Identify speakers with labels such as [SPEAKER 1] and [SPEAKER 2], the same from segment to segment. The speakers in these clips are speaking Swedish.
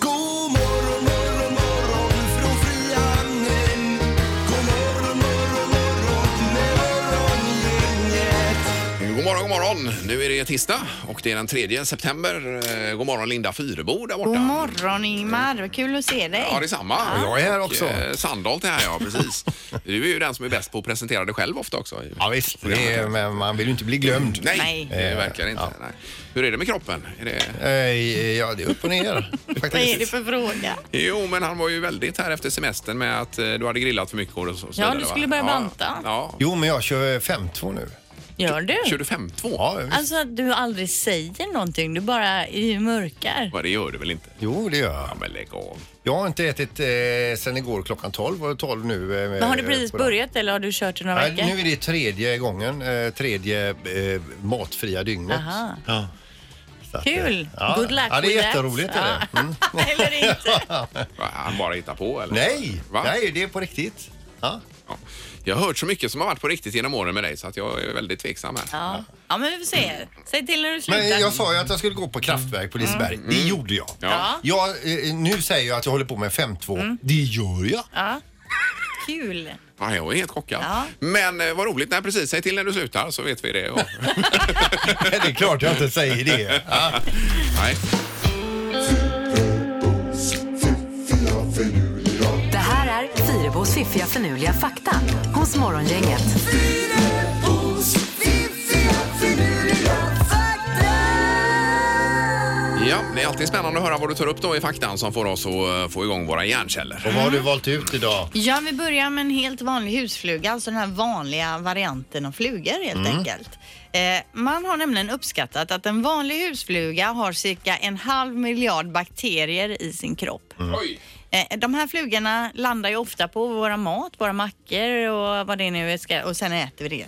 [SPEAKER 1] God morgon morgon morgon från Frihamnen. God morgon morgon morgon med morgongänget.
[SPEAKER 2] God morgon, god morgon. Nu är det tisdag och det är den 3 september. Eh, God morgon Linda Fyrebo där borta.
[SPEAKER 3] God morgon Ingmar, vad kul att se dig.
[SPEAKER 2] Ja, detsamma.
[SPEAKER 4] jag är här
[SPEAKER 2] Och,
[SPEAKER 4] också.
[SPEAKER 2] eh, Sandholt är här, ja precis. Du är ju den som är bäst på att presentera dig själv ofta också.
[SPEAKER 4] Ja, visst, det är, men man vill ju inte bli glömd.
[SPEAKER 2] Nej,
[SPEAKER 3] Nej.
[SPEAKER 2] det är verkligen inte.
[SPEAKER 4] Ja.
[SPEAKER 2] Nej. Hur är det med kroppen? Är det...
[SPEAKER 4] Eh, Ja, det är upp och ner.
[SPEAKER 3] Vad är det
[SPEAKER 4] Faktiskt.
[SPEAKER 3] för fråga?
[SPEAKER 2] Jo, men han var ju väldigt här efter semestern med att eh, du hade grillat för mycket. Och så, så
[SPEAKER 3] Ja,
[SPEAKER 2] vidare,
[SPEAKER 3] du
[SPEAKER 2] va?
[SPEAKER 3] skulle börja banta.
[SPEAKER 2] Ja. ja.
[SPEAKER 4] Jo, men jag kör 5-2 nu.
[SPEAKER 3] Gör du?
[SPEAKER 2] Kör du 5-2?
[SPEAKER 4] Ja, visst.
[SPEAKER 3] Alltså att du aldrig säger någonting, du bara eh, mörkar.
[SPEAKER 2] Vad, Det gör du väl inte?
[SPEAKER 4] Jo, det gör
[SPEAKER 2] Ja,
[SPEAKER 4] jag.
[SPEAKER 2] men lägg av.
[SPEAKER 4] Jag har inte ätit eh, sen igår klockan 12 och 12 nu. eh,
[SPEAKER 3] Men har du precis
[SPEAKER 4] på dagen.
[SPEAKER 3] börjat eller har du kört i några
[SPEAKER 4] Nej,
[SPEAKER 3] veckor?
[SPEAKER 4] nu är det tredje gången, eh, tredje eh, matfria dygnet.
[SPEAKER 3] Aha.
[SPEAKER 4] Ja. Så att, eh,
[SPEAKER 3] Kul!
[SPEAKER 4] Ja.
[SPEAKER 3] Good luck
[SPEAKER 4] Ja, det är
[SPEAKER 3] with that.
[SPEAKER 4] jätteroligt. Är det.
[SPEAKER 3] Ja.
[SPEAKER 4] Mm.
[SPEAKER 3] eller inte.
[SPEAKER 2] Va, Han bara hittar på eller?
[SPEAKER 4] Nej,
[SPEAKER 2] Va?
[SPEAKER 4] nej, det är på riktigt. Ja.
[SPEAKER 2] Ja. Jag har hört så mycket som har varit på riktigt genom åren med dig så att jag är väldigt tveksam här.
[SPEAKER 3] Ja. ja, men vi får se. Säg till när du slutar.
[SPEAKER 4] Men jag sa ju att jag skulle gå på kraftverk på Liseberg. Det gjorde jag.
[SPEAKER 2] Mm. Ja. Mm.
[SPEAKER 4] Jag, eh, nu säger jag att jag håller på med 5-2. Det gör jag.
[SPEAKER 3] Ja. Kul!
[SPEAKER 2] Ja, jag är helt chockad.
[SPEAKER 3] Ja.
[SPEAKER 2] Men eh, vad roligt. Nej, precis. Säg till när du slutar så vet vi det. Ja.
[SPEAKER 4] det är klart jag inte säger det. Ja.
[SPEAKER 2] Nej.
[SPEAKER 5] Det här är Fyrabos fiffiga förnuliga fakta hos Morgongänget.
[SPEAKER 1] Fyrabos fiffiga finurliga fakta.
[SPEAKER 2] Ja, det är alltid spännande att höra vad du tar upp då i faktan som får oss att eh, få igång våra hjärnceller.
[SPEAKER 4] Och vad har du valt ut idag?
[SPEAKER 3] Ja, vi börjar med en helt vanlig husfluga, alltså den här vanliga varianten av flugor helt
[SPEAKER 4] Mm.
[SPEAKER 3] enkelt. Eh, man har nämligen uppskattat att en vanlig husfluga har cirka en halv miljard bakterier i sin kropp.
[SPEAKER 2] Oj.
[SPEAKER 3] Eh, de här flugorna landar ju ofta på våra mat, våra mackor och vad det nu är, ska, och sen äter vi det.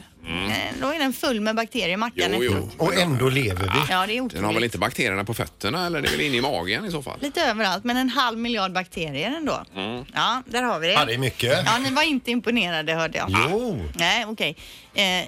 [SPEAKER 3] Eh, då är den full med bakterier, mackan
[SPEAKER 2] Mm. Jo, jo.
[SPEAKER 3] efteråt.
[SPEAKER 4] Och ändå lever vi.
[SPEAKER 3] Ja, det är
[SPEAKER 2] Den har väl
[SPEAKER 3] otroligt.
[SPEAKER 2] inte bakterierna på fötterna eller det är väl inne i magen i så fall?
[SPEAKER 3] Lite överallt, men en halv miljard bakterier ändå.
[SPEAKER 2] Mm.
[SPEAKER 3] Ja, där har vi det.
[SPEAKER 4] Ja, det är mycket.
[SPEAKER 3] Ja, ni var inte imponerade hörde jag.
[SPEAKER 4] Jo.
[SPEAKER 3] Nej, okej. Eh,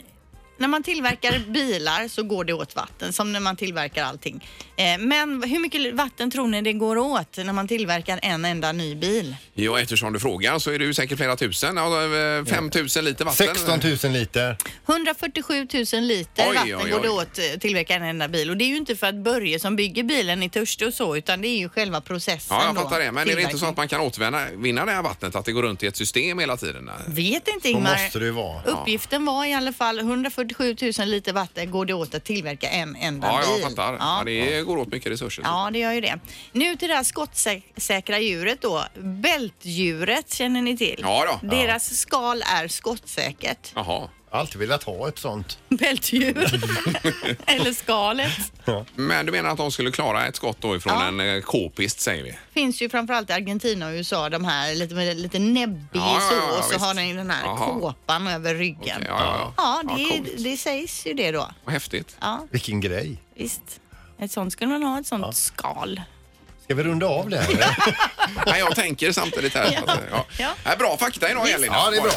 [SPEAKER 3] när man tillverkar bilar så går det åt vatten, som när man tillverkar allting. Eh, men hur mycket vatten tror ni det går åt när man tillverkar en enda ny bil?
[SPEAKER 2] Jo, eftersom du frågar så är det ju säkert flera tusen. Ja, eh, 5 000 liter vatten.
[SPEAKER 4] 16 000 liter.
[SPEAKER 3] 147 000 liter
[SPEAKER 2] Oj,
[SPEAKER 3] vatten
[SPEAKER 2] oj,
[SPEAKER 3] går
[SPEAKER 2] oj.
[SPEAKER 3] det åt eh, att tillverka en enda bil. Och det är ju inte för att Börje som bygger bilen är törstig och så, utan det är ju själva processen.
[SPEAKER 2] Ja, jag
[SPEAKER 3] då,
[SPEAKER 2] fattar det. Men är det inte så
[SPEAKER 3] tillverkning.
[SPEAKER 2] att man kan återvinna vinna det här vattnet? Att det går runt i ett system hela tiden?
[SPEAKER 3] Vet inte
[SPEAKER 4] Då
[SPEAKER 3] Ingmar.
[SPEAKER 4] måste det ju vara.
[SPEAKER 3] Uppgiften var i alla fall 147 000 liter vatten går det åt att tillverka en enda
[SPEAKER 2] Ja,
[SPEAKER 3] bil.
[SPEAKER 2] jag fattar. Ja, det går åt mycket resurser.
[SPEAKER 3] Ja, det gör ju det. Nu till det här skottsäkra djuret då. Bältdjuret känner ni till.
[SPEAKER 2] Ja då.
[SPEAKER 3] Deras skal är skottsäkert.
[SPEAKER 2] Jaha.
[SPEAKER 4] Alltid velat ha ett sånt.
[SPEAKER 3] Bältdjur. Eller skalet.
[SPEAKER 2] Men du menar att de skulle klara ett skott då ifrån
[SPEAKER 3] Ja.
[SPEAKER 2] en eh, k-pist säger vi?
[SPEAKER 3] Finns ju framförallt i Argentina och USA de här lite, med lite näbbig
[SPEAKER 2] Ja, ja,
[SPEAKER 3] så
[SPEAKER 2] ja,
[SPEAKER 3] och så
[SPEAKER 2] visst.
[SPEAKER 3] har den den här
[SPEAKER 2] Jaha.
[SPEAKER 3] kåpan över ryggen.
[SPEAKER 2] Okej, ja, ja,
[SPEAKER 3] Ja,
[SPEAKER 2] ja.
[SPEAKER 3] det,
[SPEAKER 2] Ja, coolt.
[SPEAKER 3] det sägs ju det då.
[SPEAKER 2] Vad häftigt.
[SPEAKER 3] Ja,
[SPEAKER 4] Vilken grej.
[SPEAKER 3] visst. Ett sånt skulle man ha, ett sånt skal.
[SPEAKER 4] Ska vi runda av det här?
[SPEAKER 2] Nej, jag tänker samtidigt här.
[SPEAKER 3] Ja.
[SPEAKER 2] Alltså, ja.
[SPEAKER 3] Ja.
[SPEAKER 2] Nej, Bra fakta idag Elin.
[SPEAKER 4] Ja, det är bra.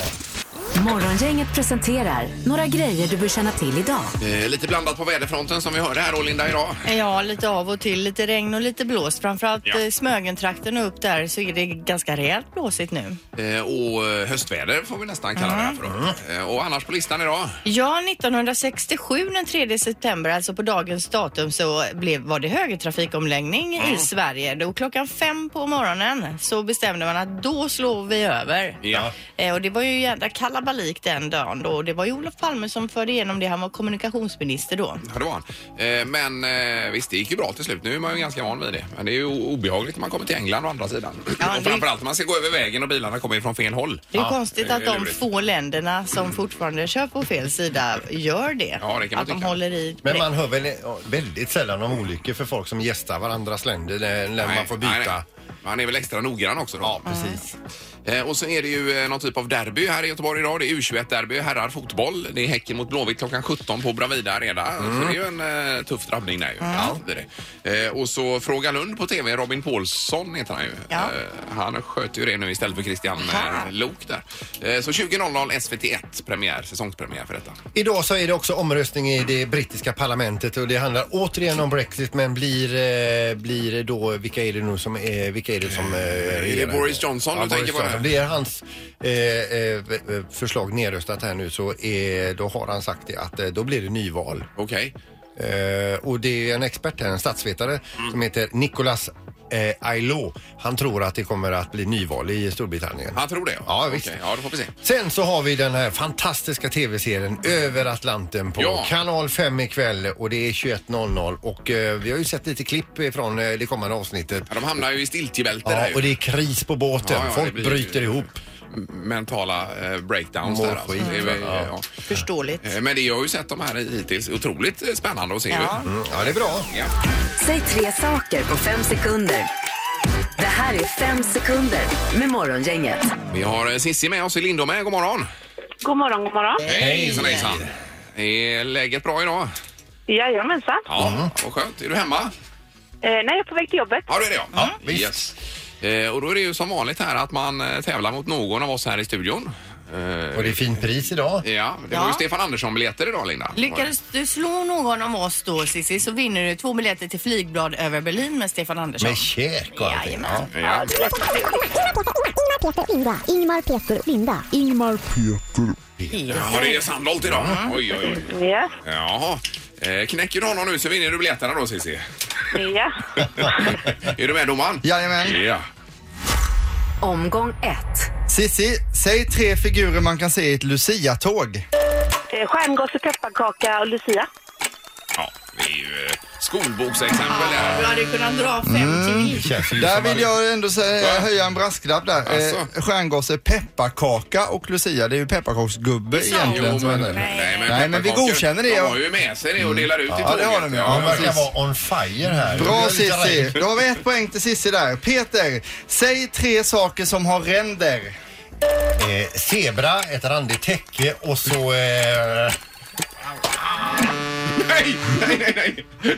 [SPEAKER 5] Morgongänget presenterar några grejer du bör känna till idag.
[SPEAKER 2] Eh, lite blandat på väderfronten som vi hörde här då Linda idag.
[SPEAKER 3] Ja, lite av och till. Lite regn och lite blåst. Framförallt
[SPEAKER 2] Ja.
[SPEAKER 3] ja. Smögentrakten och upp där så är det ganska rejält blåsigt nu.
[SPEAKER 2] Eh, och eh, höstväder får vi nästan kalla det här för. Då. Eh, och annars på listan idag?
[SPEAKER 3] Ja, 1967 den 3 september, alltså på dagens datum, så blev, var det högertrafikomläggning i Sverige. Då klockan fem på morgonen så bestämde man att då slår vi över.
[SPEAKER 2] Ja.
[SPEAKER 3] Eh, och det var ju en jädra kalabalik den dagen då. Det var ju Olof Palme som förde igenom det. Han var kommunikationsminister då.
[SPEAKER 2] Ja, det var han. Eh, men eh, visst, det gick ju bra till slut. Nu är man ju ganska van vid det. Men det är ju o- obehagligt när man kommer till England å andra sidan.
[SPEAKER 3] Ja,
[SPEAKER 2] och
[SPEAKER 3] det-
[SPEAKER 2] framförallt när man ska gå över vägen och bilarna kommer in från fel håll.
[SPEAKER 3] Det är ju konstigt
[SPEAKER 2] det är
[SPEAKER 3] att de
[SPEAKER 2] lurigt.
[SPEAKER 3] få länderna som fortfarande kör på fel sida gör det.
[SPEAKER 2] Ja, det kan man
[SPEAKER 3] att de
[SPEAKER 2] tycka.
[SPEAKER 3] håller i.
[SPEAKER 4] Men man hör väl ja, väldigt sällan om olyckor för folk som gästar varandras länder när, när
[SPEAKER 2] Nej,
[SPEAKER 4] man får
[SPEAKER 2] nej,
[SPEAKER 4] byta
[SPEAKER 2] nej. Han är väl extra noggrann också då. Ja, precis. Eh, och så är det ju eh, någon typ av derby här i Göteborg idag. Det är U21-derby, herrar fotboll. Det är Häcken mot Blåvitt klockan 17 på Bravida Arena.
[SPEAKER 4] Mm.
[SPEAKER 2] Så det är ju en eh, tuff drabbning där ju. Ja, det är det. Eh, och så Fråga Lund på TV, Robin Paulsson heter han ju.
[SPEAKER 3] Ja.
[SPEAKER 2] Eh, han sköter ju det nu istället för Christian eh, Lok där. Eh, så 20.00 SVT1, premiär, säsongspremiär för detta.
[SPEAKER 4] Idag så är det också omröstning i det brittiska parlamentet och det handlar återigen om Brexit men blir, eh, blir då, vilka är det nu som är, vilka är det som... Eh,
[SPEAKER 2] det
[SPEAKER 4] regerar?
[SPEAKER 2] Boris Johnson du tänker på
[SPEAKER 4] Johnson.
[SPEAKER 2] det?
[SPEAKER 4] Det är hans eh, eh, förslag nedröstat här nu så är, då har han sagt det att eh, då blir det nyval.
[SPEAKER 2] Okej.
[SPEAKER 4] Eh, och det är en expert här, en statsvetare
[SPEAKER 2] Mm.
[SPEAKER 4] som heter Nicolas eh, Ailo. Han tror att det kommer att bli nyval i Storbritannien.
[SPEAKER 2] Han tror det?
[SPEAKER 4] Ja, visst.
[SPEAKER 2] Okej, ja, då får vi se.
[SPEAKER 4] Sen så har vi den här fantastiska tv-serien Över Atlanten på
[SPEAKER 2] Ja.
[SPEAKER 4] kanal 5 ikväll och det är 21.00 och eh, vi har ju sett lite klipp från eh, det kommande avsnittet.
[SPEAKER 2] Ja, de hamnar ju i stiltjebälter
[SPEAKER 4] Ja,
[SPEAKER 2] här ju.
[SPEAKER 4] och det är kris på båten.
[SPEAKER 2] Ja, ja, det
[SPEAKER 4] Folk
[SPEAKER 2] blir-
[SPEAKER 4] bryter ihop.
[SPEAKER 2] mentala eh, breakdowns
[SPEAKER 4] Mår
[SPEAKER 2] där alltså.
[SPEAKER 4] skit,
[SPEAKER 2] Det är väl-
[SPEAKER 4] ja.
[SPEAKER 2] ja.
[SPEAKER 3] Förståeligt.
[SPEAKER 2] Eh, Men det jag har ju sett de här hittills. Otroligt eh, spännande att se
[SPEAKER 3] Ja.
[SPEAKER 2] ju.
[SPEAKER 4] Mm, ja, det är bra.
[SPEAKER 2] Ja.
[SPEAKER 5] Säg tre saker på fem sekunder. Det här är fem sekunder med Morgongänget.
[SPEAKER 2] Vi har eh, Sissi med oss i Lindome. God morgon!
[SPEAKER 6] God morgon, god morgon.
[SPEAKER 2] Hej! Hejsan, hejsan! Är läget bra idag?
[SPEAKER 6] Jajamensan.
[SPEAKER 2] Ja, vad skönt. Är du hemma?
[SPEAKER 6] Eh, nej, jag är på väg till jobbet.
[SPEAKER 2] Ja, det är det ja. ja
[SPEAKER 4] visst.
[SPEAKER 2] yes. Eh, Och då är det ju som vanligt här att man eh, tävlar mot någon av oss här i studion. Eh,
[SPEAKER 4] Och det är fint pris idag.
[SPEAKER 2] Ja, det var
[SPEAKER 3] Ja.
[SPEAKER 2] ju Stefan Andersson-biljetter idag, Linda.
[SPEAKER 3] Lyckades du slå någon av oss då Cissi så vinner du två biljetter till Flygblad över Berlin med Stefan Andersson.
[SPEAKER 4] Med käk och allting. Ja.
[SPEAKER 3] Jajamän.
[SPEAKER 2] Ja.
[SPEAKER 7] Ingmar, Peter, Linda. Ingmar, Peter, Linda. Ingmar,
[SPEAKER 2] ja, det är Sandholt idag. Mm. Oj, oj, oj.
[SPEAKER 6] Ja.
[SPEAKER 2] Jaha. Eh, knäcker du honom nu så vinner du biljetterna då, Cissi.
[SPEAKER 6] ja.
[SPEAKER 2] Är du med domaren?
[SPEAKER 8] Jajamän.
[SPEAKER 2] Ja.
[SPEAKER 5] Omgång ett.
[SPEAKER 8] Sissi, säg tre figurer man kan se i ett Lucia-tåg.
[SPEAKER 6] Eh, Stjärngosse, pepparkaka och Lucia.
[SPEAKER 2] ja. Det är ju eh, skolboksexempel
[SPEAKER 3] Du
[SPEAKER 2] där.
[SPEAKER 3] hade ju kunnat dra fem
[SPEAKER 2] Mm,
[SPEAKER 3] till.
[SPEAKER 4] Känns ju
[SPEAKER 8] Där
[SPEAKER 4] som
[SPEAKER 8] vill
[SPEAKER 4] att-
[SPEAKER 8] jag ändå säga,
[SPEAKER 2] Va?
[SPEAKER 8] höja en brasklapp där.
[SPEAKER 2] Alltså.
[SPEAKER 8] Eh, stjärngosse, pepparkaka och Lucia. Det är ju pepparkaksgubbe egentligen.
[SPEAKER 2] Jo,
[SPEAKER 8] som är
[SPEAKER 2] men,
[SPEAKER 8] det.
[SPEAKER 2] nej, men,
[SPEAKER 8] Nej, men vi
[SPEAKER 2] pepparkakor,
[SPEAKER 8] godkänner det.
[SPEAKER 2] De har ju med sig det och delar ut i
[SPEAKER 8] Ja, det har
[SPEAKER 2] tåget.
[SPEAKER 8] de ju.
[SPEAKER 4] Han
[SPEAKER 2] Ja,
[SPEAKER 4] verkar
[SPEAKER 8] precis.
[SPEAKER 4] vara on fire här. Jag
[SPEAKER 8] Bra
[SPEAKER 4] är lite
[SPEAKER 8] Cissi!
[SPEAKER 4] rädd.
[SPEAKER 8] Då har vi ett poäng till Cissi där. Peter, säg tre saker som har ränder.
[SPEAKER 4] Eh, zebra, ett randigt täcke och så... Eh,
[SPEAKER 2] Nej, nej, nej,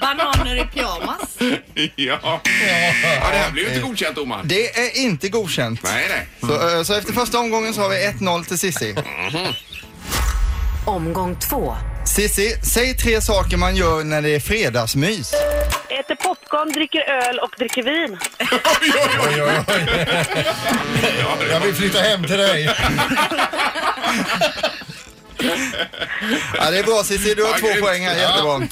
[SPEAKER 3] Bananer i pyjamas.
[SPEAKER 2] nej. Ja. ja, det här blir ju inte godkänt, domaren.
[SPEAKER 8] Det är inte godkänt.
[SPEAKER 2] Nej, nej.
[SPEAKER 8] Så, eh, så efter första omgången så har vi 1-0 till Cissi.
[SPEAKER 5] Omgång två.
[SPEAKER 8] Cissi, säg tre saker man gör när det är fredagsmys.
[SPEAKER 6] Äter popcorn, dricker öl och dricker vin.
[SPEAKER 2] Oj, oj, oj.
[SPEAKER 4] oj, oj, oj.
[SPEAKER 2] Ja, det
[SPEAKER 4] Jag
[SPEAKER 2] var-
[SPEAKER 4] vill flytta hem till dig.
[SPEAKER 8] Ja, det är bra Cissi, du har
[SPEAKER 2] Ja,
[SPEAKER 8] två
[SPEAKER 2] grymt.
[SPEAKER 8] poäng här,
[SPEAKER 2] Ja.
[SPEAKER 8] jättebra.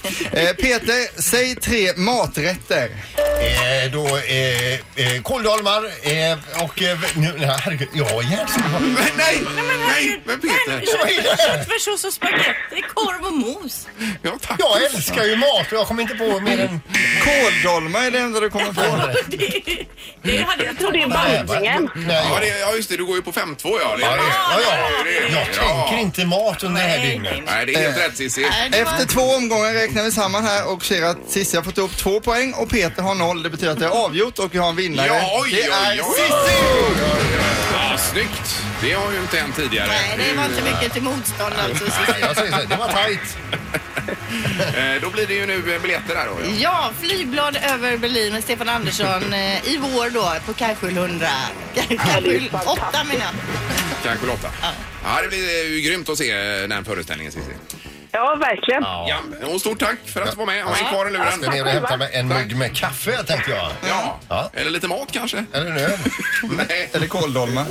[SPEAKER 8] Eh, Peter, säg tre maträtter.
[SPEAKER 4] Eh, då eh, eh, kåldolmar eh, och... Eh, nu, nej, herregud, ja, hjärtstopp.
[SPEAKER 2] Men nej, nej, men Peter.
[SPEAKER 3] Köttfärssås och spagetti, korv och mos.
[SPEAKER 2] Ja, tack.
[SPEAKER 4] Jag älskar ju mat och jag kommer inte på mer än...
[SPEAKER 8] Kåldolmar är det enda du kommer på.
[SPEAKER 3] Det, det hade jag
[SPEAKER 6] Och det är bantningen.
[SPEAKER 2] Ja,
[SPEAKER 4] Nej,
[SPEAKER 2] det, ja, just det. Du går ju på 5-2, ja. Det
[SPEAKER 4] ja,
[SPEAKER 2] är-
[SPEAKER 4] det, ja,
[SPEAKER 2] det är
[SPEAKER 4] ja.
[SPEAKER 2] det.
[SPEAKER 4] Jag tänker inte mat under det här
[SPEAKER 3] Nej,
[SPEAKER 4] dygnet.
[SPEAKER 3] nej,
[SPEAKER 2] Nej, det är helt rätt, Cissi.
[SPEAKER 3] nej. Det var-
[SPEAKER 8] Efter två omgångar räknar vi samman här och ser att Cissi har fått upp två poäng och Peter har noll. Det betyder att det är avgjort och vi har en vinnare.
[SPEAKER 2] Ja, oj,
[SPEAKER 8] det är
[SPEAKER 2] oj, oj.
[SPEAKER 8] Cissi!
[SPEAKER 2] Ja, snyggt. Det har ju inte hänt tidigare.
[SPEAKER 3] Nej, det var inte mycket till motstånd alltså.
[SPEAKER 4] Nej, jag säger så här, det var tajt.
[SPEAKER 2] Eh, Då blir det ju nu eh, biljetter där då. ja.
[SPEAKER 3] Ja, flygblad över Berlin med Stefan Andersson eh, i vår då på Kajskjul 100. Kajskjul 8 menar jag.
[SPEAKER 2] Kanske Lotta. Ja, det blir eh, ju grymt att se eh, den här föreställningen, Cissi.
[SPEAKER 6] Ja, verkligen.
[SPEAKER 2] Ja, och stort tack för att du var med. Om är kvar i
[SPEAKER 4] Jag ska
[SPEAKER 2] luren.
[SPEAKER 4] ner och hämta mig en mugg med kaffe, tänkte jag.
[SPEAKER 2] Ja.
[SPEAKER 4] Ja.
[SPEAKER 2] eller lite mat kanske.
[SPEAKER 4] Eller en öl.
[SPEAKER 2] Nej.
[SPEAKER 8] Eller kåldolmar.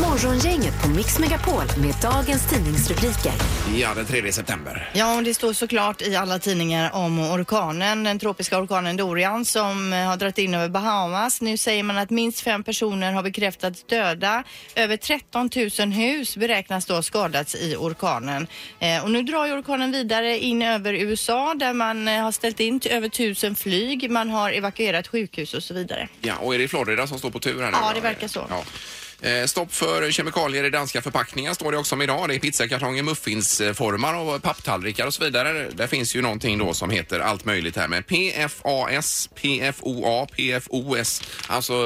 [SPEAKER 5] Morgongänget på Mix Megapol med dagens tidningsrubriker.
[SPEAKER 2] Ja, den 3 september.
[SPEAKER 3] Ja, och det står såklart i alla tidningar om orkanen, den tropiska orkanen Dorian som eh, har dragit in över Bahamas. Nu säger man att minst fem personer har bekräftats döda. Över 13 000 hus beräknas då ha skadats i orkanen. Eh, och nu drar ju orkanen vidare in över USA där man eh, har ställt in till över 1000 flyg. Man har evakuerat sjukhus och så vidare.
[SPEAKER 2] Ja, och är det Florida som står på tur här nu?
[SPEAKER 3] Ja,
[SPEAKER 2] då?
[SPEAKER 3] det verkar så.
[SPEAKER 2] Ja. Eh, Stopp för kemikalier i danska förpackningar står det också om idag. Det är pizzakartonger, muffinsformar och papptallrikar och så vidare. Där finns ju någonting då som heter allt möjligt här med PFAS, PFOA, PFOS. Alltså, eh,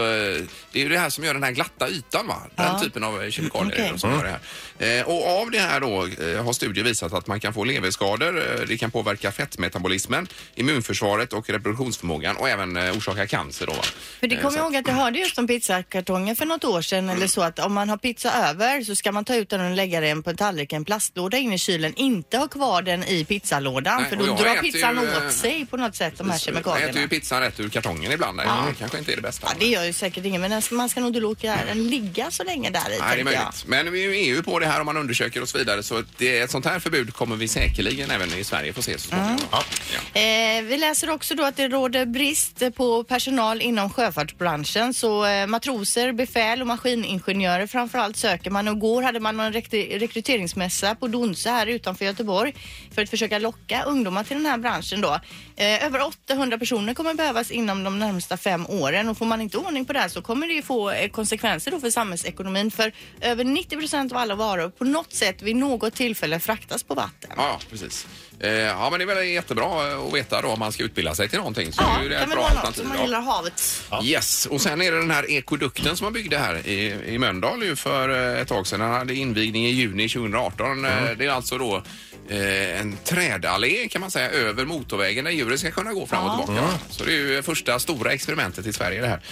[SPEAKER 2] det är ju det här som gör den här glatta ytan va? Den
[SPEAKER 1] Ja.
[SPEAKER 2] typen av eh, kemikalier är det
[SPEAKER 1] Okej.
[SPEAKER 2] som gör det här. Eh, Och av det här då eh, har studier visat att man kan få leverskador, eh, det kan påverka fettmetabolismen, immunförsvaret och reproduktionsförmågan och även eh, orsaka cancer då va?
[SPEAKER 3] För det
[SPEAKER 2] Eh,
[SPEAKER 3] kommer
[SPEAKER 2] så-
[SPEAKER 3] jag ihåg att jag hörde just om pizzakartonger för något år sedan eller så att om man har pizza över så ska man ta ut den och lägga den på en tallrik, en plastlåda in i kylen. Inte ha kvar den i pizzalådan
[SPEAKER 2] Nej,
[SPEAKER 3] för
[SPEAKER 2] och
[SPEAKER 3] då
[SPEAKER 2] jag
[SPEAKER 3] drar
[SPEAKER 2] äter
[SPEAKER 3] pizzan
[SPEAKER 2] ju, eh,
[SPEAKER 3] åt sig på något sätt de här
[SPEAKER 2] Jag äter ju
[SPEAKER 3] kemikalierna.
[SPEAKER 2] pizzan rätt ur kartongen ibland. Det
[SPEAKER 3] Ja.
[SPEAKER 2] kanske inte är det bästa.
[SPEAKER 3] Ja, det gör ju säkert ingen men den ska- man ska nog inte låta den ligga så länge där i.
[SPEAKER 2] Nej, det är
[SPEAKER 3] tänker jag.
[SPEAKER 2] möjligt. Men nu är ju EU på det här om man undersöker och så vidare så att det, ett sånt här förbud kommer vi säkerligen även i Sverige få se så småningom.
[SPEAKER 3] Mm.
[SPEAKER 2] Ja.
[SPEAKER 3] Eh, vi läser också då att det råder brist på personal inom sjöfartsbranschen så eh, matroser, befäl och maskiningenjörer framförallt söker man. Och igår hade man en rekry- rekryteringsmässa på Donse här utanför Göteborg för att försöka locka ungdomar till den här branschen då. Eh, över 800 personer kommer behövas inom de närmsta fem åren och får man inte ordning på det här så kommer det ju få eh, konsekvenser då för samhällsekonomin för över 90 procent av alla varor på något sätt vid något tillfälle fraktas på vatten.
[SPEAKER 2] Ja, ja, precis. Eh, Ja, men det är väl jättebra att veta då om man ska utbilda sig till någonting. Så
[SPEAKER 3] Ja,
[SPEAKER 2] är ju det
[SPEAKER 3] kan
[SPEAKER 2] ett
[SPEAKER 3] väl
[SPEAKER 2] bra
[SPEAKER 3] vara något
[SPEAKER 2] alternativ.
[SPEAKER 3] om man
[SPEAKER 2] Ja.
[SPEAKER 3] gillar havet.
[SPEAKER 2] Yes, och sen är det den här ekodukten som man byggde här i, i Mölndal ju för eh, ett tag sedan. Den hade invigning i juni 2018. Eh, Det är alltså då eh, en trädallé kan man säga över motorvägen där djuren ska kunna gå fram och tillbaka. va? Så det är ju första stora experimentet i Sverige det här.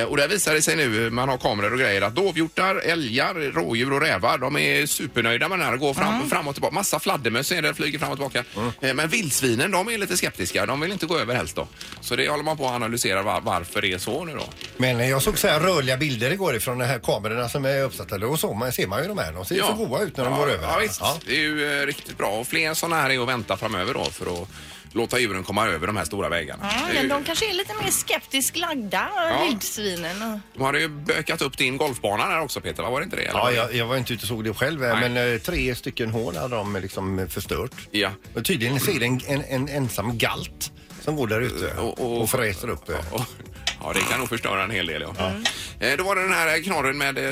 [SPEAKER 2] Eh, Och där visar det sig nu, man har kameror och grejer, att dovhjortar, älgar, rådjur och rävar, de är supernöjda med den här. Går
[SPEAKER 4] Mm.
[SPEAKER 2] fram, fram och tillbaka. Massa fladdermöss är det, flyger fram och tillbaka. Eh, Men vildsvinen, de är lite skeptiska. De vill inte gå över helst då. Så det håller man på att analysera var, varför det är så nu då.
[SPEAKER 4] Men jag såg så här rörliga bilder igår ifrån de här kamerorna som är uppsatta. Då så, man, ser man ju de här. De ser ju så goa ut när de
[SPEAKER 2] ja,
[SPEAKER 4] går över.
[SPEAKER 2] Ja, visst. Det är ju eh, riktigt bra. Och fler sådana här är att vänta framöver då för att låta djuren komma över de här stora vägarna.
[SPEAKER 4] Mm.
[SPEAKER 3] Ja,
[SPEAKER 2] Det är
[SPEAKER 3] men
[SPEAKER 2] ju,
[SPEAKER 3] de kanske är lite mer skeptiskt lagda,
[SPEAKER 2] Ja.
[SPEAKER 3] vildsvinen. och-
[SPEAKER 2] de hade ju bökat upp din golfbana där också Peter, va? var det inte det? Eller?
[SPEAKER 4] Ja, jag, jag var inte ute och såg det själv, eh, men eh, tre stycken hål hade de liksom eh, förstört.
[SPEAKER 2] Ja.
[SPEAKER 4] Och tydligen så är det en, en, en ensam galt som går där ute och, fräser upp. eh.
[SPEAKER 2] Ja, det kan nog förstöra en hel del. Ja. Eh, Då var det den här knorren med, eh,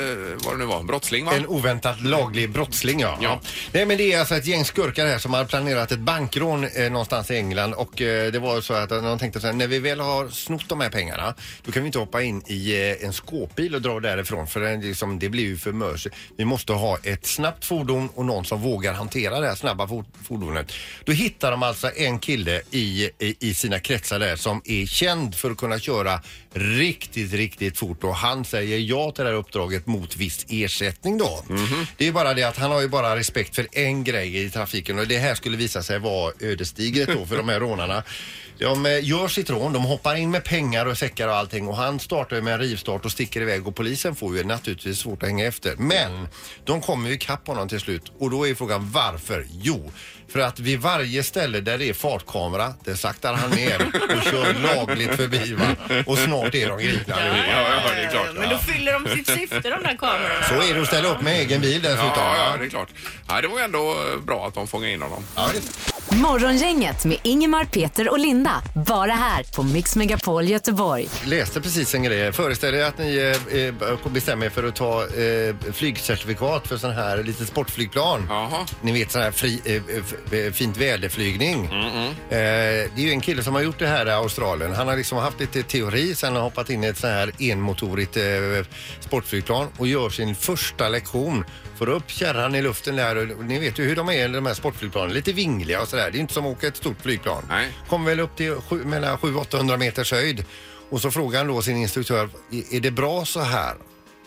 [SPEAKER 2] vad det nu var, en brottsling va?
[SPEAKER 4] En oväntat laglig brottsling ja.
[SPEAKER 2] Ja.
[SPEAKER 4] Nej men det är alltså ett gäng skurkar här som har planerat ett bankrån eh, någonstans i England och eh, det var så att de tänkte så här, när vi väl har snott de här pengarna då kan vi inte hoppa in i eh, en skåpbil och dra därifrån för det, är liksom, det blir ju för mörs. Vi måste ha ett snabbt fordon och någon som vågar hantera det här snabba for- fordonet. Då hittar de alltså en kille i, i, i sina kretsar där som är känd för att kunna köra riktigt, riktigt fort och han säger ja till det här uppdraget mot viss ersättning då. Det är bara det att han har ju bara respekt för en grej i trafiken och det här skulle visa sig vara ödesdigert då för de här rånarna. De eh, gör sitt rån, de hoppar in med pengar och säckar och allting och han startar ju med en rivstart och sticker iväg och polisen får ju naturligtvis svårt att hänga efter. Men de kommer ju ikapp honom till slut och då är frågan varför? Jo, för att vid varje ställe där det är fartkamera, där saktar han ner och kör lagligt förbi va? och snart är de gripna. allihopa.
[SPEAKER 2] det är klart.
[SPEAKER 3] Eh, Men då fyller de sitt syfte de där kamerorna.
[SPEAKER 4] Så är det att ställa upp med egen bil dessutom.
[SPEAKER 2] Ja, ja, det är klart. Ja, det var ju ändå eh, bra att de fångade in honom.
[SPEAKER 5] Morgongänget med Ingemar, Peter och Linda. Bara här på Mix Megapol Göteborg.
[SPEAKER 4] läste precis en grej. Föreställ er att ni eh, eh, bestämmer er för att ta eh, flygcertifikat för sån här litet sportflygplan. Ni vet sån här fri, eh, f- eh, fint väderflygning. Eh, det är ju en kille som har gjort det här i Australien. Han har liksom haft lite teori sen har hoppat in i ett sån här enmotorigt eh, sportflygplan och gör sin första lektion. Får upp kärran i luften där och ni vet ju hur de är de här sportflygplanen. Lite vingliga och sådär. Det är ju inte som att åka ett stort flygplan. Kommer väl upp till sju, mellan 700-800 meters höjd. Och så frågar han då sin instruktör, "I- är det bra så här?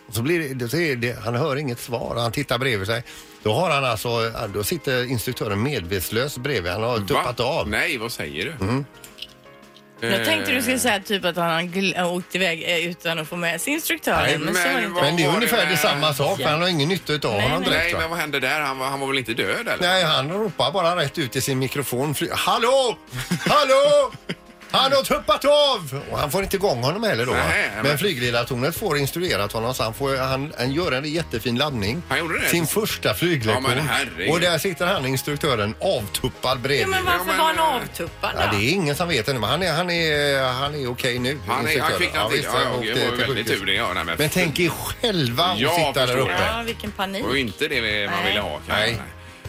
[SPEAKER 4] Och så blir det, så är det, han hör inget svar, han tittar bredvid sig. Då, har han alltså, ja, då sitter instruktören medvetslös bredvid, han har tuppat av.
[SPEAKER 2] Nej, vad säger du?
[SPEAKER 4] Mm.
[SPEAKER 3] Jag tänkte du skulle säga typ att han har gl- äh, åkt iväg eh, utan att få med sig instruktören.
[SPEAKER 4] Nej,
[SPEAKER 3] men, så var det inte.
[SPEAKER 4] Men det är ungefär det samma sak, för han har ingen nytta utav honom
[SPEAKER 2] Nej,
[SPEAKER 4] direkt. va?
[SPEAKER 2] men vad hände där? Han var, han var väl inte död eller?
[SPEAKER 4] Nej, han ropar bara rätt ut i sin mikrofon. Fly- Hallå! Hallå! Han har tuppat av! Och han får inte igång honom heller då. va?
[SPEAKER 2] Nähä, men-
[SPEAKER 4] men flygledartornet får instruerat honom så han, får, han, han gör en jättefin laddning. Han
[SPEAKER 2] gjorde det?
[SPEAKER 4] Sin första flyglektion.
[SPEAKER 2] Ja, men herregud.
[SPEAKER 4] och där sitter han, instruktören, avtuppad bredvid.
[SPEAKER 9] Jo, men varför var han avtuppad
[SPEAKER 4] Ja,
[SPEAKER 9] då?
[SPEAKER 4] det är ingen som vet ännu, men han är, han är, han är okej nu.
[SPEAKER 2] Han är- han
[SPEAKER 4] instruktören.
[SPEAKER 2] kvicknar till.
[SPEAKER 4] visst,
[SPEAKER 2] Ja, ja,
[SPEAKER 4] han
[SPEAKER 2] det
[SPEAKER 4] åkte
[SPEAKER 2] var ju
[SPEAKER 4] till
[SPEAKER 2] väldigt
[SPEAKER 4] sjukhus.
[SPEAKER 2] tur det, ja, nej, men-
[SPEAKER 4] men tänk er själva att
[SPEAKER 2] Ja,
[SPEAKER 4] sitta där
[SPEAKER 2] förstår
[SPEAKER 4] uppe.
[SPEAKER 9] Ja, vilken panik.
[SPEAKER 2] Och inte det vi- man
[SPEAKER 9] Nej.
[SPEAKER 2] ville ha kanske. Nej.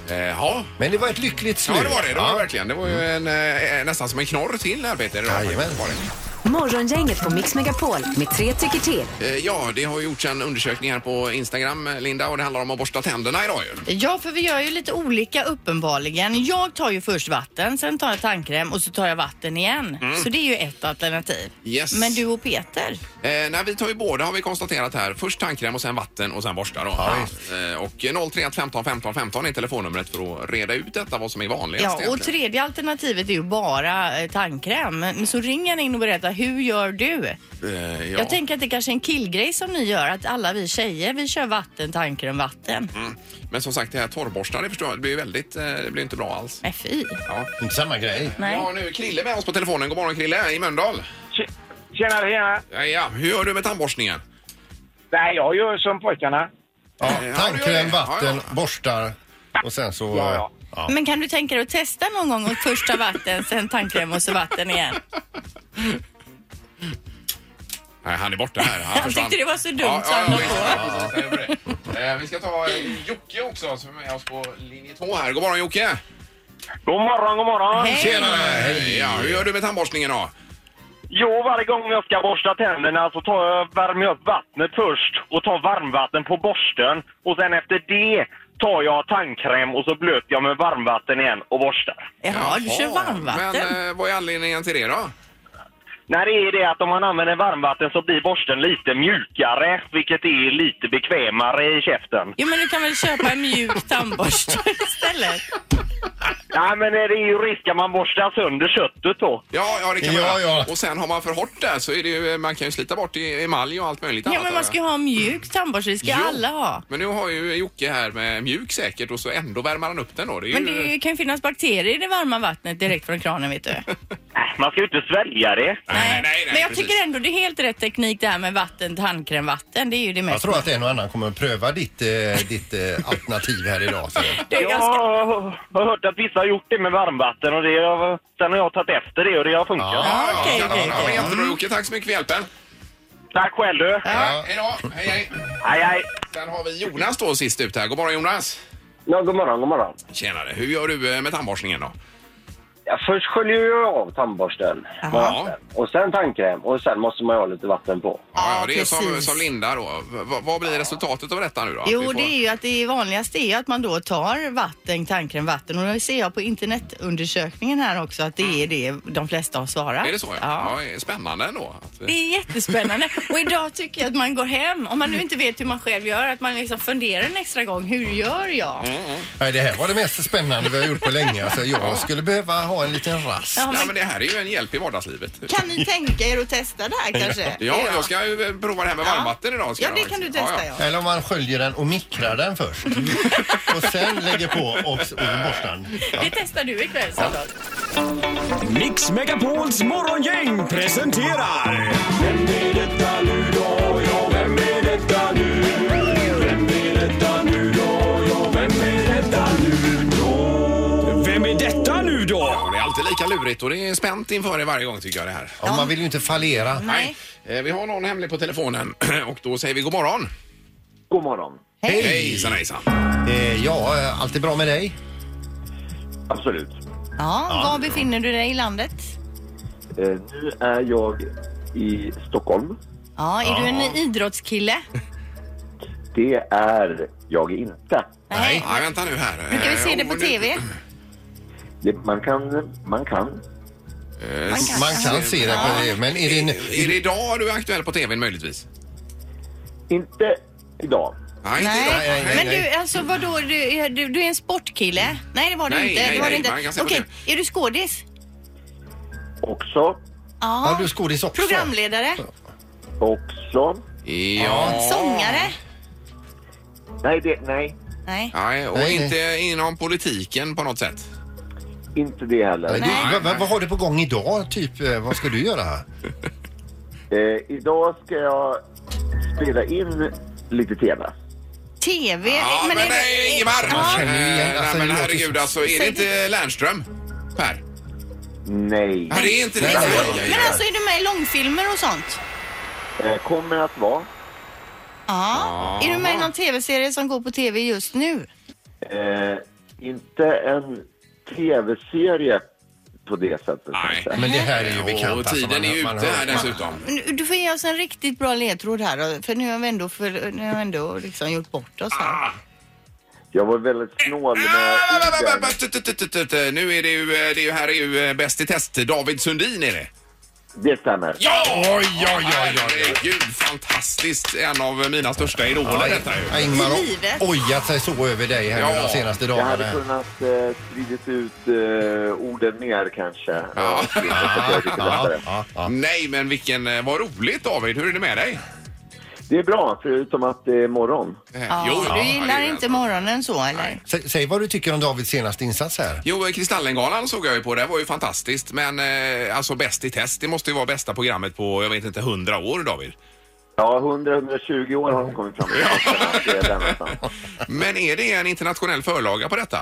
[SPEAKER 2] Eh, Ja.
[SPEAKER 4] Men det var ett lyckligt
[SPEAKER 2] Ja,
[SPEAKER 4] slut.
[SPEAKER 2] det var det. Det var det verkligen. Det var ju
[SPEAKER 4] Mm.
[SPEAKER 2] en, eh, nästan som en knorr till här, Peter. idag. Var det.
[SPEAKER 5] Morgongänget på Mix Megapol med tre tycker till.
[SPEAKER 2] Eh, Ja, det har ju gjorts en undersökning här på Instagram, eh, Linda, och det handlar om att borsta tänderna idag ju.
[SPEAKER 3] Ja, för vi gör ju lite olika uppenbarligen. Jag tar ju först vatten, sen tar jag tandkräm och så tar jag vatten igen.
[SPEAKER 2] Mm.
[SPEAKER 3] Så det är ju ett alternativ.
[SPEAKER 2] Yes.
[SPEAKER 3] Men du och Peter?
[SPEAKER 2] Eh, nej, vi tar ju båda har vi konstaterat här. Först tandkräm och sen vatten och sen borsta då. eh, och 031 15 15 15 är telefonnumret för att reda ut detta, vad som är vanligast
[SPEAKER 3] Ja, och
[SPEAKER 2] egentligen.
[SPEAKER 3] tredje alternativet är ju bara eh, tandkräm. Men så ring gärna in och berätta, hur gör du?
[SPEAKER 2] Eh, ja.
[SPEAKER 3] Jag tänker att det kanske är en killgrej som ni gör, att alla vi tjejer, vi kör vatten, tandkräm, vatten.
[SPEAKER 2] Mm. Men som sagt, det här torrborstade förstår jag, det blir ju väldigt, eh, det blir inte bra alls.
[SPEAKER 3] Nej, fy.
[SPEAKER 2] Ja.
[SPEAKER 4] Inte samma grej.
[SPEAKER 2] Nej. Ja, nu är Krille med oss på telefonen. God morgon Krille i Mölndal. Tjena, tjena. Ja, ja. Hur gör du med tandborstningen?
[SPEAKER 10] Nej, jag gör som pojkarna.
[SPEAKER 4] Ja, tandkräm, vatten, borstar och sen så...
[SPEAKER 10] Ja, ja.
[SPEAKER 4] ja.
[SPEAKER 3] Men kan du tänka dig att testa någon gång och först ta vatten, sen tandkräm och så vatten igen?
[SPEAKER 2] Nej, han är borta här. Han,
[SPEAKER 3] Han
[SPEAKER 2] försvann.
[SPEAKER 3] tyckte det var så dumt
[SPEAKER 2] Ja,
[SPEAKER 3] så
[SPEAKER 2] ja,
[SPEAKER 3] han
[SPEAKER 2] ja,
[SPEAKER 3] la
[SPEAKER 2] visst.
[SPEAKER 3] på.
[SPEAKER 2] Ja, jag gjorde det. Eh, Vi ska ta eh, Jocke också som är med oss på linje 2 här. God morgon Jocke!
[SPEAKER 10] God morgon, god morgon! Hej.
[SPEAKER 2] Tjena! Ja, hur gör du med tandborstningen då?
[SPEAKER 10] Jo, varje gång jag ska borsta tänderna så tar jag, värmer jag upp vattnet först och tar varmvatten på borsten. Och sen efter det tar jag tandkräm och så blöter jag med varmvatten igen och borstar.
[SPEAKER 3] Jaha, du kör varmvatten.
[SPEAKER 2] Men eh, vad är anledningen till det då?
[SPEAKER 10] När det är det att om man använder varmvatten så blir borsten lite mjukare, vilket är lite bekvämare i käften.
[SPEAKER 3] Jo, men du kan väl köpa en mjuk tandborste istället?
[SPEAKER 10] Nej, men det är ju risk att man borstar sönder köttet då.
[SPEAKER 2] Ja, ja, det kan man göra. Och sen har man för hårt där så är det ju, eh, man kan ju slita bort i- emalj och allt möjligt
[SPEAKER 3] Ja,
[SPEAKER 2] annat
[SPEAKER 3] men
[SPEAKER 2] där.
[SPEAKER 3] man ska ju ha en mjuk tandborste, det ska
[SPEAKER 2] Jo.
[SPEAKER 3] alla ha.
[SPEAKER 2] Men nu har ju Jocke här med mjuk säkert och så ändå värmer han upp den då. Det är
[SPEAKER 3] Men
[SPEAKER 2] ju...
[SPEAKER 3] det kan ju finnas bakterier i det varma vattnet direkt från kranen, vet du.
[SPEAKER 10] Äh, Man ska ju inte svälja det.
[SPEAKER 2] Nej, nej,
[SPEAKER 3] Men jag tycker ändå det är helt rätt teknik det här med vatten, tandkräm, vatten. Det är ju det mest.
[SPEAKER 4] Jag tror att en och annan kommer att pröva ditt, eh, ditt eh, alternativ här idag. Så.
[SPEAKER 10] jag har hört att vissa har gjort det med varmvatten och det har, sen har jag tagit efter det och det har funkat.
[SPEAKER 2] Ja, ja, ja, ja, ja, men
[SPEAKER 3] Mm.
[SPEAKER 2] Jättebra Jocke, tack så mycket för hjälpen.
[SPEAKER 10] Tack själv du.
[SPEAKER 2] Ja, hej då, hej hej.
[SPEAKER 10] Hej hej.
[SPEAKER 2] Sen har vi Jonas då sist ut här. God morgon Jonas.
[SPEAKER 11] Ja, god morgon, god morgon.
[SPEAKER 2] Tjenare, hur gör du eh, med tandborstningen då?
[SPEAKER 11] Ja, först sköljer jag av tandborsten med vatten. Och sen tandkräm och sen måste man ju ha lite vatten på.
[SPEAKER 2] Ja, det är som, som Linda då. V- v- vad blir resultatet av detta nu då? Att vi
[SPEAKER 3] Jo,
[SPEAKER 2] får-
[SPEAKER 3] det är ju att det vanligaste är ju att man då tar vatten, tandkräm, vatten. Och det ser jag på internetundersökningen här också att det är det de flesta har svarat.
[SPEAKER 2] Är det så? Ja. ja. Spännande ändå. Att eh, vi-
[SPEAKER 3] Det är jättespännande. Och idag tycker jag att man går hem, om man nu inte vet hur man själv gör, att man liksom funderar en extra gång. Hur gör jag?
[SPEAKER 2] Mm.
[SPEAKER 4] Nej, det här var det mest spännande vi har gjort på länge. Alltså, jag skulle behöva ha en liten rast.
[SPEAKER 3] Ja, men- Ja, men
[SPEAKER 2] det här är ju en hjälp i vardagslivet.
[SPEAKER 3] Kan ni tänka er att testa det här kanske?
[SPEAKER 2] Ja, jag ska ju eh, prova det här med varmvatten idag. Ska
[SPEAKER 3] Ja,
[SPEAKER 2] jag
[SPEAKER 3] det
[SPEAKER 2] faktiskt.
[SPEAKER 3] kan du testa, ja.
[SPEAKER 4] Eller om man sköljer den och mikrar den först. och sen lägger på och, och borstar den.
[SPEAKER 3] Det testar du ikväll, Sandal.
[SPEAKER 1] Mix Megapols morgongäng presenterar... Vem är detta nu då? Ja, vem är detta nu? Vem är detta nu då? Ja, vem är detta nu då? Vem är detta nu då?
[SPEAKER 2] Ja, det är alltid lika lurigt och det är spänt inför det varje gång tycker jag det här.
[SPEAKER 4] Ja, man vill ju inte fallera.
[SPEAKER 2] Nej. Eh, Vi har någon hemlig på telefonen och då säger vi god morgon.
[SPEAKER 11] God morgon.
[SPEAKER 2] Hej. Hejsan hejsan.
[SPEAKER 4] Eh, ja, eh, allt är bra med dig?
[SPEAKER 11] Absolut.
[SPEAKER 3] Ja,
[SPEAKER 11] Ja.
[SPEAKER 3] var befinner du dig i landet?
[SPEAKER 11] Eh, nu är jag i Stockholm.
[SPEAKER 3] Ja, är
[SPEAKER 11] Ja.
[SPEAKER 3] du en idrottskille?
[SPEAKER 11] Det är jag inte.
[SPEAKER 2] Nej. Nej, vänta nu här. Eh,
[SPEAKER 3] Brukar vi se det på TV?
[SPEAKER 11] Det, man kan...
[SPEAKER 2] Man
[SPEAKER 11] Man kan.
[SPEAKER 4] kan. man kan se det på Ja. det, men är det en-
[SPEAKER 2] Är det idag du är aktuell på TVn möjligtvis?
[SPEAKER 11] Inte idag.
[SPEAKER 2] Nej, inte
[SPEAKER 3] Nej.
[SPEAKER 2] idag. Nej,
[SPEAKER 3] Men
[SPEAKER 2] nej.
[SPEAKER 3] du, alltså vadå, du, är- du, du är en sportkille? Nej, det var du
[SPEAKER 2] Nej,
[SPEAKER 3] inte.
[SPEAKER 2] nej,
[SPEAKER 3] det var
[SPEAKER 2] nej,
[SPEAKER 3] du
[SPEAKER 2] man kan
[SPEAKER 3] inte.
[SPEAKER 2] säga på
[SPEAKER 3] Okej, är du skådis?
[SPEAKER 11] Också.
[SPEAKER 3] Ja.
[SPEAKER 4] du är skådis också.
[SPEAKER 3] Programledare?
[SPEAKER 11] Också.
[SPEAKER 2] Ja.
[SPEAKER 3] Sångare?
[SPEAKER 11] Nej, det... Nej.
[SPEAKER 3] Nej.
[SPEAKER 2] Nej, och
[SPEAKER 11] Nej,
[SPEAKER 2] inte inom politiken på något sätt.
[SPEAKER 11] Inte det heller.
[SPEAKER 4] Nej, det- vad- vad, vad har du på gång idag? Typ, eh, vad ska du göra?
[SPEAKER 11] Eh, idag ska jag spela in lite tv.
[SPEAKER 3] TV?
[SPEAKER 2] Ja, men,
[SPEAKER 3] är det-
[SPEAKER 2] nej, Ingemar!
[SPEAKER 3] Ja.
[SPEAKER 2] Eh, nej, men herregud alltså, är det inte Lernström? Per?
[SPEAKER 11] Nej.
[SPEAKER 2] Ja, det är inte det.
[SPEAKER 11] Nej.
[SPEAKER 2] Ja, ja, ja.
[SPEAKER 3] Men alltså är du med i långfilmer och sånt?
[SPEAKER 11] Eh, kommer att vara.
[SPEAKER 3] Ja. Är du med i någon tv-serie som går på tv just nu?
[SPEAKER 11] Eh, inte en tv-serie på det sättet. kanske.
[SPEAKER 4] Men det här är ju bekant. alltså,
[SPEAKER 2] Och tiden är ju ute här dessutom.
[SPEAKER 3] Men du- Du får ge oss en riktigt bra ledtråd här då, för nu har vi ändå, för, nu har vi ändå liksom gjort bort oss här.
[SPEAKER 11] Jag var väldigt snål
[SPEAKER 2] Ah,
[SPEAKER 11] med orden.
[SPEAKER 2] Nu är det ju, eh, det är ju, här är ju eh, Bäst i test, David Sundin är det.
[SPEAKER 11] Det stämmer.
[SPEAKER 2] Ja! Oj, oj, oj, Herregud, fantastiskt. En av mina största idoler detta
[SPEAKER 4] Ja,
[SPEAKER 2] ju.
[SPEAKER 4] Ingmar har
[SPEAKER 3] Livet.
[SPEAKER 4] ojat sig så över dig här nu de senaste
[SPEAKER 11] Jag hade
[SPEAKER 4] dagarna.
[SPEAKER 11] kunnat eh, spridit ut eh, orden mer kanske. Ja.
[SPEAKER 2] Nej, men vilken... eh, Vad roligt David, hur är det med dig?
[SPEAKER 11] Det är bra, förutom att det är morgon.
[SPEAKER 2] Eh,
[SPEAKER 3] Ja, du gillar inte morgonen så eller?
[SPEAKER 4] Sä- Säg vad du tycker om Davids senaste insats här.
[SPEAKER 2] Jo, eh, Kristallengalan såg jag ju på. Det var ju fantastiskt. Men eh, alltså Bäst i test, det måste ju vara bästa programmet på, jag vet inte, hundra år David.
[SPEAKER 11] Ja, 100-120 år har de kommit fram till att det är den nästan.
[SPEAKER 2] Men är det en internationell förlaga på detta?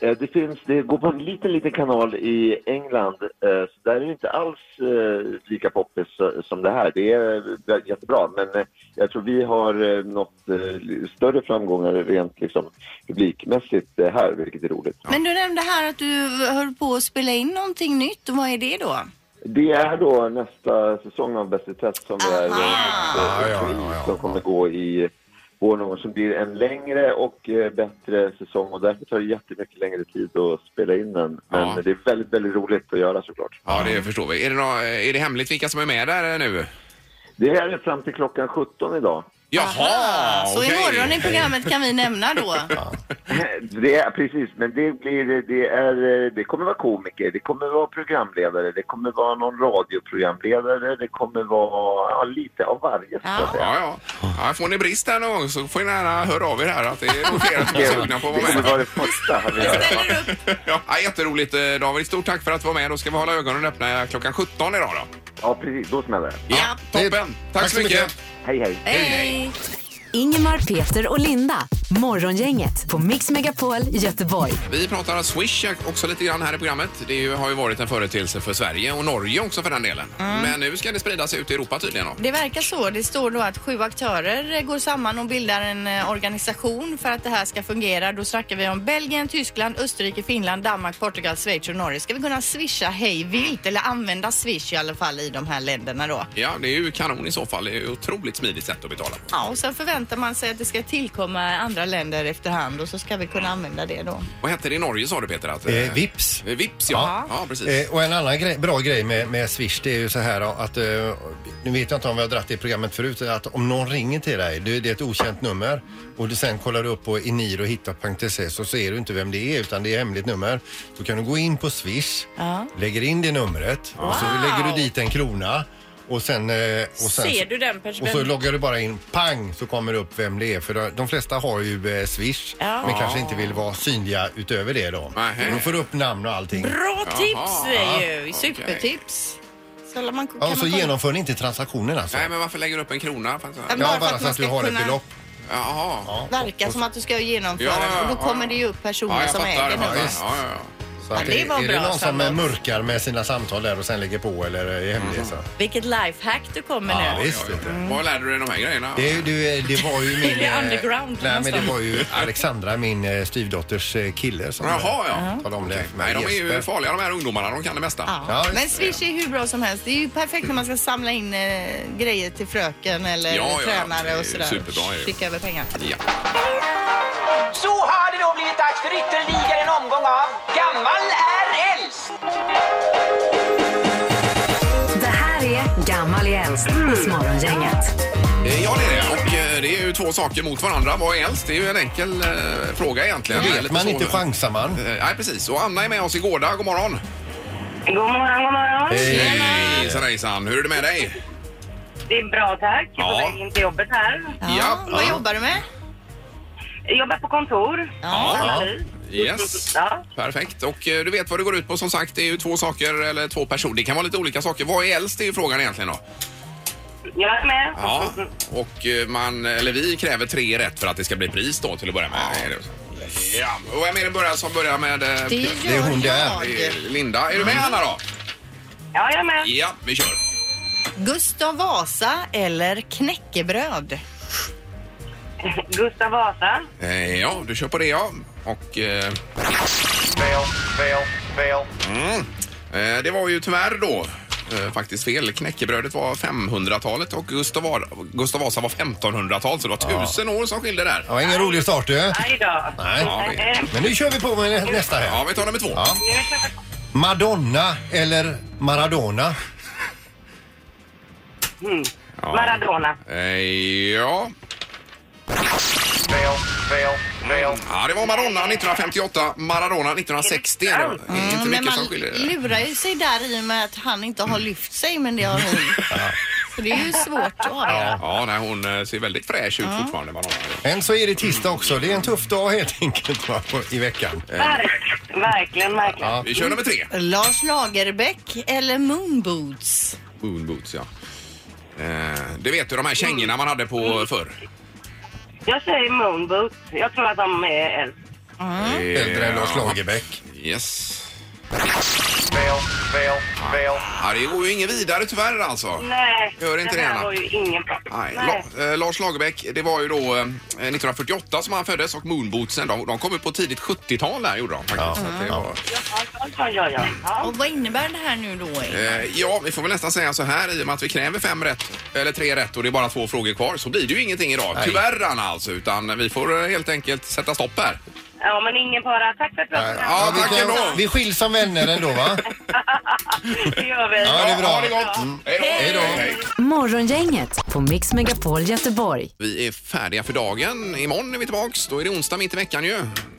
[SPEAKER 11] Eh, Det, finns, det går på en liten, liten kanal i England. eh, Så där är det inte alls eh, lika poppis eh, som det här. Det är eh, jättebra, men eh, jag tror vi har eh, nått eh, större framgångar rent liksom, publikmässigt eh, här, vilket är roligt.
[SPEAKER 3] Men du nämnde här att du höll på att spela in någonting nytt. Vad är det då?
[SPEAKER 11] Det är då nästa säsong av Bäst i test som är eh, eh, som kommer gå i vår någon gång, som blir en längre och eh, bättre säsong och därför tar det jättemycket längre tid att spela in den. Men det är väldigt, väldigt roligt att göra såklart.
[SPEAKER 2] Ja, det förstår vi. Är det, nå- eh, är det hemligt vilka som är med där eh, nu?
[SPEAKER 11] Det här är fram till klockan 17 idag.
[SPEAKER 2] Jaha,
[SPEAKER 3] Så imorgon i programmet kan vi nämna då.
[SPEAKER 11] Det är, precis, men det, blir, det, är, eh, det kommer vara komiker, det kommer vara programledare, det kommer vara någon radioprogramledare, det kommer vara ja, lite av varje. så att säga.
[SPEAKER 2] Ja, ja. ja får ni brist här någon gång så får ni gärna höra av er här att det är nog flera som är sugna på att vara med. Det
[SPEAKER 11] kommer vara det första vi
[SPEAKER 2] gör. Ja, jätteroligt eh, David. Stort tack för att du var med. Då ska vi hålla ögonen öppna klockan 17 idag då.
[SPEAKER 11] Ja, precis. Då smäller det.
[SPEAKER 2] Ja, toppen. Tack, så mycket.
[SPEAKER 11] Hej, hej.
[SPEAKER 5] Hej! Ingemar, Peter och Linda. Morgongänget på Mix Megapol Göteborg.
[SPEAKER 2] Vi pratar om Swish också lite grann här i programmet. Det är ju- har ju varit en företeelse för Sverige och Norge också för den delen. Men nu ska det spridas ut i Europa tydligen då.
[SPEAKER 3] Det verkar så. Det står då att sju aktörer eh, går samman och bildar en eh, organisation för att det här ska fungera. Då snackar vi om Belgien, Tyskland, Österrike, Finland, Danmark, Portugal, Schweiz och Norge. Ska vi kunna swisha hej vilt eller använda swish i alla fall i de här länderna då?
[SPEAKER 2] Ja, det är ju kanon i så fall. Det är ju otroligt smidigt sätt att betala på.
[SPEAKER 3] Ja, och sen förväntar man sig att det ska tillkomma andra länder efterhand och så ska vi kunna använda det då.
[SPEAKER 2] Vad hette det i Norge sa du Peter? Att,
[SPEAKER 4] Eh, Vips.
[SPEAKER 2] Eh, Vips ja. ja. precis.
[SPEAKER 4] Eh, och en annan grej, bra grej med, med Swish det är ju så här då, att eh, nu vet jag inte om vi har dratt det i programmet förut att om någon ringer till dig, det, det är ett okänt nummer och du sen kollar upp på enirohitta.se så ser du inte vem det är utan det är hemligt nummer. Då kan du gå in på Swish,
[SPEAKER 9] Ja.
[SPEAKER 4] lägger in det numret och så
[SPEAKER 9] Wow.
[SPEAKER 4] lägger du dit en krona och sen... eh, Och sen
[SPEAKER 9] Ser du den personen?
[SPEAKER 4] Och så loggar du bara in, pang, så kommer det upp vem det är. För de- de flesta har ju eh, Swish,
[SPEAKER 9] Ja.
[SPEAKER 4] men
[SPEAKER 9] Ja.
[SPEAKER 4] kanske inte vill vara synliga utöver det då.
[SPEAKER 2] Nähä.
[SPEAKER 4] Och då får du upp namn och allting.
[SPEAKER 9] Bra tips
[SPEAKER 4] Ja.
[SPEAKER 9] är ju. Supertips.
[SPEAKER 3] Så man, kan
[SPEAKER 4] Ja, och så
[SPEAKER 3] man kolla-
[SPEAKER 4] genomför ni inte transaktionen alltså?
[SPEAKER 2] Nej, men varför lägger du upp en krona? För att-
[SPEAKER 3] Ja, bara Ja, bara för att så man att du ska har ett kunna- belopp.
[SPEAKER 2] Jaha. Ja,
[SPEAKER 3] verkar som att du ska genomföra
[SPEAKER 2] Ja, ja,
[SPEAKER 3] och då
[SPEAKER 2] ja.
[SPEAKER 3] kommer det ju upp personer som äger
[SPEAKER 2] jag fattar.
[SPEAKER 3] numret.
[SPEAKER 2] Ja, ja, ja.
[SPEAKER 4] Så att
[SPEAKER 9] Ja, det var
[SPEAKER 4] är det
[SPEAKER 9] bra
[SPEAKER 4] någon som
[SPEAKER 9] samlat.
[SPEAKER 4] mörkar med sina samtal där och sen lägger på eller är hemlig? så?
[SPEAKER 9] Vilket lifehack du kommer
[SPEAKER 4] Ja,
[SPEAKER 9] nu.
[SPEAKER 4] visst. Mm.
[SPEAKER 2] Var lärde du dig de här grejerna?
[SPEAKER 4] Det, är ju- du, det var ju min...
[SPEAKER 9] Det är
[SPEAKER 4] eh,
[SPEAKER 9] underground
[SPEAKER 4] Nej, men det
[SPEAKER 9] någonstans.
[SPEAKER 4] var ju Alexandra, min eh, styvdotters eh, kille som
[SPEAKER 2] Jaha,
[SPEAKER 4] eh,
[SPEAKER 2] ja.
[SPEAKER 4] talade om det för mig.
[SPEAKER 2] Nej, de är ju
[SPEAKER 4] Jesper.
[SPEAKER 2] farliga de här ungdomarna. De kan det mesta.
[SPEAKER 4] Ja,
[SPEAKER 3] Men Swish är hur bra som helst. Det är ju perfekt när man ska samla in eh, grejer till fröken eller
[SPEAKER 2] Ja, ja, ja.
[SPEAKER 3] tränare
[SPEAKER 2] Det är
[SPEAKER 3] och sådär.
[SPEAKER 2] superbra ju.
[SPEAKER 3] Skicka över pengar.
[SPEAKER 2] Ja.
[SPEAKER 12] Så har det då blivit dags för ytterligare en omgång av Gammal är äldst.
[SPEAKER 5] Det här är Gammal i äldst hos Morgongänget.
[SPEAKER 2] Eh, Ja, det är det. Och eh, det är ju två saker mot varandra. Vad är äldst? Det är ju en enkel eh, fråga egentligen.
[SPEAKER 4] Vet
[SPEAKER 2] Lite
[SPEAKER 4] man
[SPEAKER 2] så-
[SPEAKER 4] inte chansar man.
[SPEAKER 2] Eh, Nej, precis. Och Anna är med oss i Gårda. God morgon.
[SPEAKER 6] God morgon, god morgon.
[SPEAKER 4] Eh,
[SPEAKER 2] Hejsan, hejsan. Hur är det med dig?
[SPEAKER 6] Det är bra, tack. Jag är
[SPEAKER 2] Ja.
[SPEAKER 6] på väg in till jobbet här.
[SPEAKER 2] Ja.
[SPEAKER 3] Vad jobbar du med?
[SPEAKER 6] Jag jobbar på kontor.
[SPEAKER 2] Ja.
[SPEAKER 6] Analys.
[SPEAKER 2] Yes. Perfekt. Och eh, du vet vad det går ut på som sagt. Det är ju två saker eller två personer. Det kan vara lite olika saker. Vad är äldst? Det är ju frågan egentligen då.
[SPEAKER 13] Jag är med.
[SPEAKER 2] Ja. Och eh, man, eller vi kräver tre rätt för att det ska bli pris då till att börja med. Är det så? Ja, och vem är det börjar som börjar med... eh,
[SPEAKER 13] Det gör Det är hon det är. jag.
[SPEAKER 2] Det är Linda. Är du med Anna då?
[SPEAKER 13] Ja, jag är med.
[SPEAKER 2] Ja, vi kör.
[SPEAKER 3] Gustav Vasa eller knäckebröd?
[SPEAKER 13] Gustav Vasa.
[SPEAKER 2] Eh, Ja, du kör på det ja. Och... Eh... Fel, fel, fel. Mm. Eh, det var ju tyvärr då eh, faktiskt fel. Knäckebrödet var 500-talet och Gustav, Var- Gustav Vasa var 1500-tal så det var
[SPEAKER 4] Ja.
[SPEAKER 2] tusen år som skilde där.
[SPEAKER 4] Ja, ingen rolig start du.
[SPEAKER 13] Nej då.
[SPEAKER 2] Ja,
[SPEAKER 4] Nej.
[SPEAKER 2] vi-
[SPEAKER 4] Men nu kör vi på med nä- nästa här.
[SPEAKER 2] Ja, vi tar nummer två.
[SPEAKER 4] Ja. Madonna eller Maradona?
[SPEAKER 2] Ja.
[SPEAKER 13] Mm. Maradona.
[SPEAKER 2] Eh, ja. Fel, fel, fel. Ja, det var Maradona 1958, Maradona 1960. Det var inte
[SPEAKER 3] Men
[SPEAKER 2] mycket
[SPEAKER 3] man
[SPEAKER 2] som skiljer.
[SPEAKER 3] lurar ju sig där i och med att han inte har lyft sig, men det har hon. Så det är ju svårt att avgöra.
[SPEAKER 2] Ja, ja nej, hon eh, ser väldigt fräsch ut fortfarande, Maradona.
[SPEAKER 4] Men så är det tisdag också. Det är en tuff dag helt enkelt va, på- i veckan.
[SPEAKER 2] Eh.
[SPEAKER 13] Verk, verkligen, verkligen.
[SPEAKER 4] Ja. Vi kör nummer tre.
[SPEAKER 3] Lars Lagerbäck eller Moonboots?
[SPEAKER 2] Moonboots, ja. Eh, du vet ju de här kängorna man hade på förr.
[SPEAKER 13] Jag säger Moonboots. Jag tror att de är äldst.
[SPEAKER 4] Äldre än Lars Lagerbäck.
[SPEAKER 2] Yes. Fel, fel, fel. Ja, det går ju ingen vidare tyvärr alltså.
[SPEAKER 13] Nej,
[SPEAKER 2] Gör inte det,
[SPEAKER 13] här
[SPEAKER 2] Anna.
[SPEAKER 13] var ju ingen bra.
[SPEAKER 2] Nej. La, eh, Lars Lagerbäck, det var ju då eh, 1948 som han föddes och Moonbootsen, de, de kom ju på tidigt 70-tal där gjorde de faktiskt. Ja. Så att det
[SPEAKER 13] Ja,
[SPEAKER 2] var,
[SPEAKER 13] ja, ja.
[SPEAKER 3] Och vad innebär det här nu då?
[SPEAKER 2] eh, ja, vi får väl nästan säga så här i och med att vi kräver fem rätt, eller tre rätt och det är bara två frågor kvar så blir det ju ingenting idag. Tyvärr Anna alltså, utan vi får eh, helt enkelt sätta stopp här.
[SPEAKER 13] Ja, men ingen fara. Tack för att du har
[SPEAKER 2] Ja,
[SPEAKER 4] vi,
[SPEAKER 2] tack
[SPEAKER 4] kan-
[SPEAKER 2] ändå.
[SPEAKER 4] vi skiljs som vänner ändå va?
[SPEAKER 13] Det gör vi.
[SPEAKER 4] Ja, det är bra. Mm.
[SPEAKER 2] Ha det gott. Hej då.
[SPEAKER 14] Morgongänget på Mix Megapol Göteborg.
[SPEAKER 2] Vi är färdiga för dagen. Imorgon är vi tillbaks. Då är det onsdag mitt i veckan ju.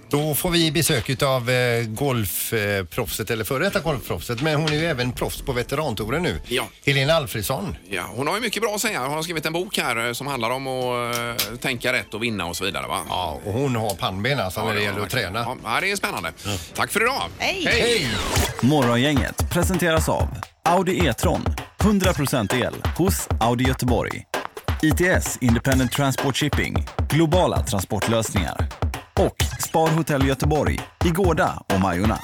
[SPEAKER 4] Då får vi besök av eh, golfproffset, eller före detta golfproffset, men hon är ju även proffs på veterantouren nu.
[SPEAKER 2] Ja.
[SPEAKER 4] Helena Alfredsson.
[SPEAKER 2] Ja, hon har ju mycket bra att säga. Hon har skrivit en bok här eh, som handlar om att eh, tänka rätt och vinna och så vidare. Va?
[SPEAKER 4] Ja, och hon har pannben alltså när det gäller att träna.
[SPEAKER 2] Ja, det är spännande. Tack för idag.
[SPEAKER 4] Hej.
[SPEAKER 11] Morgongänget presenteras av Audi E-tron. 100% el hos Audi Göteborg. ITS Independent Transport Shipping. Globala transportlösningar. Och Spar Hotel Göteborg i Gårda och Majorna.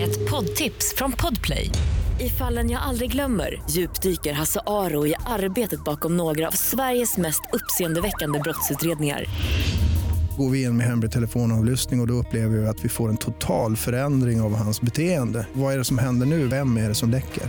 [SPEAKER 5] Ett poddtips från Podplay. I fallen jag aldrig glömmer djupdyker Hasse Aro i arbetet bakom några av Sveriges mest uppseendeväckande brottsutredningar.
[SPEAKER 8] Går vi in med hemlig telefonavlyssning och, och då upplever vi att vi får en total förändring av hans beteende. Vad är det som händer nu? Vem är det som läcker?
[SPEAKER 15] Eh.